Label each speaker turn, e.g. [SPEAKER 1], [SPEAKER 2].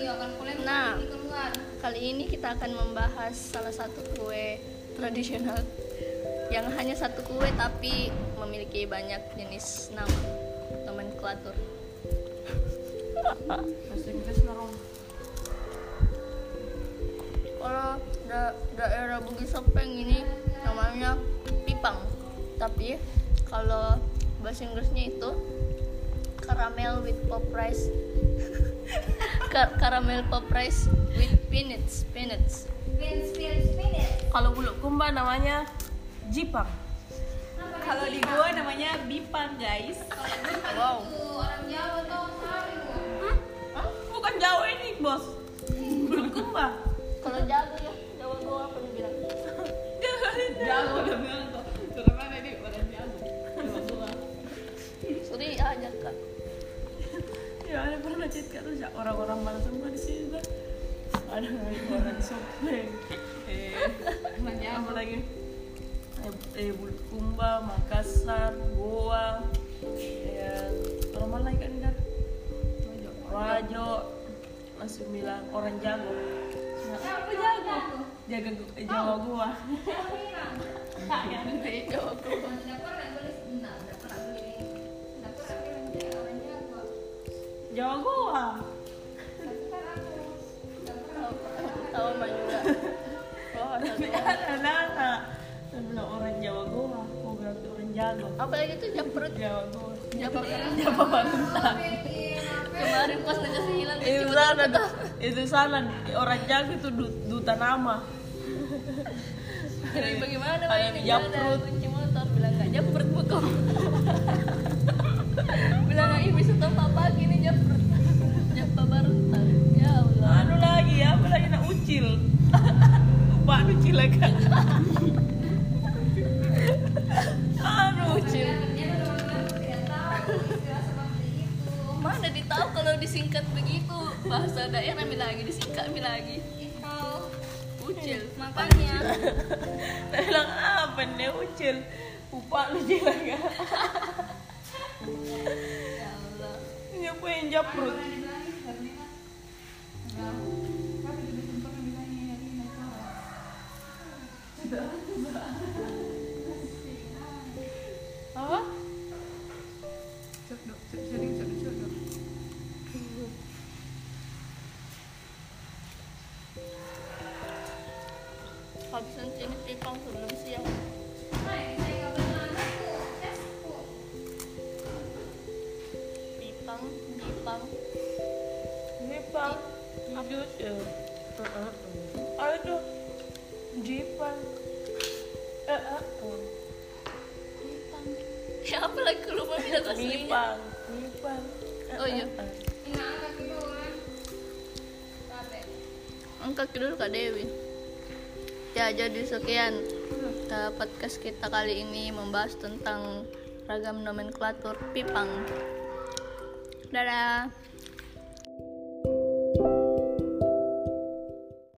[SPEAKER 1] Iya kan kuliah
[SPEAKER 2] Nah.
[SPEAKER 1] di keluar.
[SPEAKER 2] Kali ini kita akan membahas salah satu kue tradisional yang hanya satu kue tapi memiliki banyak jenis nama nomenklatur.
[SPEAKER 3] Bahasa Inggris narong.
[SPEAKER 2] Kalau da- daerah Bugis Sopeng ini namanya pipang, tapi kalau bahasa Inggrisnya itu caramel with pop rice. Ka- caramel pop rice with peanuts, peanuts.
[SPEAKER 1] Spin spin spin it.
[SPEAKER 3] Kalau bulu kumba namanya jipang.
[SPEAKER 1] Apa
[SPEAKER 4] Kalau di gua namanya Bipang guys.
[SPEAKER 2] Wow.
[SPEAKER 1] itu orang Jawa tuh sari gua.
[SPEAKER 3] Hah? Bukan Jawa ini bos. Bulu kumba.
[SPEAKER 2] Kalau jago ya, jago gua apa dibilang?
[SPEAKER 4] Jago udah bilang tuh. Terus mana ini orang jago. Jawa gua.
[SPEAKER 2] Suri aja kak.
[SPEAKER 3] Ya ada pernah chat kata ya, orang-orang mana semua di sini dah. Ada nggak orang sopeng. Eh, apa lagi? Eh, eh bulu kumba, Makassar, Goa. Eh, orang mana lagi kan Dar? Rajo. Langsung bilang orang jago.
[SPEAKER 1] Aku jago.
[SPEAKER 3] Jaga eh, Jawa gua.
[SPEAKER 4] Tak yang ini.
[SPEAKER 2] Jago gua.
[SPEAKER 1] Nggak pernah tulis, nggak pernah tulis. Nggak pernah bilang dia orang Jawa.
[SPEAKER 3] Jawa gua.
[SPEAKER 1] Tapi kan aku nggak pernah.
[SPEAKER 2] Tahu mah juga. Oh, satu orang.
[SPEAKER 3] Ada nana. Dia bilang orang Jawa gua. Gua bilang tuh orang jago.
[SPEAKER 2] Apalagi itu jam perut.
[SPEAKER 3] Jawa gua.
[SPEAKER 2] Jam perut.
[SPEAKER 3] Siapa bangun tak?
[SPEAKER 1] Bikin apa?
[SPEAKER 2] Kemarin pas aja hilang
[SPEAKER 3] itu
[SPEAKER 2] kecil
[SPEAKER 3] sana itu sana orang jago itu du- duta nama
[SPEAKER 2] Jadi
[SPEAKER 3] Iya.
[SPEAKER 2] bagaimana
[SPEAKER 3] Ada
[SPEAKER 2] mainnya?
[SPEAKER 3] jam
[SPEAKER 2] Ada
[SPEAKER 3] perut.
[SPEAKER 2] kunci motor bilang nggak jam perut buka. bilang nggak ibu setelah papa gini jam perut. Jam baru ntar. Ya Allah.
[SPEAKER 3] anu lagi ya apa lagi nak ucil pak ucil lagi anu ucil
[SPEAKER 1] Dia tuh orang-orang tuh tidak tahu istilah seperti itu.
[SPEAKER 2] Mana ditahu kalau disingkat begitu bahasa daerah mi lagi disingkat mi lagi.
[SPEAKER 1] Itu
[SPEAKER 2] Ucil makanya.
[SPEAKER 3] Dia bilang apa nih ucil upak ucil lagi
[SPEAKER 2] Ya Allah.
[SPEAKER 3] nyapuin japrut apa
[SPEAKER 4] Cuk dok, cuk sering cuk cuk dok.
[SPEAKER 2] Habis nanti ini pipang sebelum siang. Pipang, pipang.
[SPEAKER 3] jipang ucil aduh jipang eh eh, eh.
[SPEAKER 2] Nipang. Ya apa lagi ke rumah minat aslinya?
[SPEAKER 3] Nipang, nipang.
[SPEAKER 2] Oh, iya. Angkat dulu Kak Dewi. Ya jadi sekian eh, podcast kita kali ini membahas tentang ragam nomenklatur pipang. Dadah.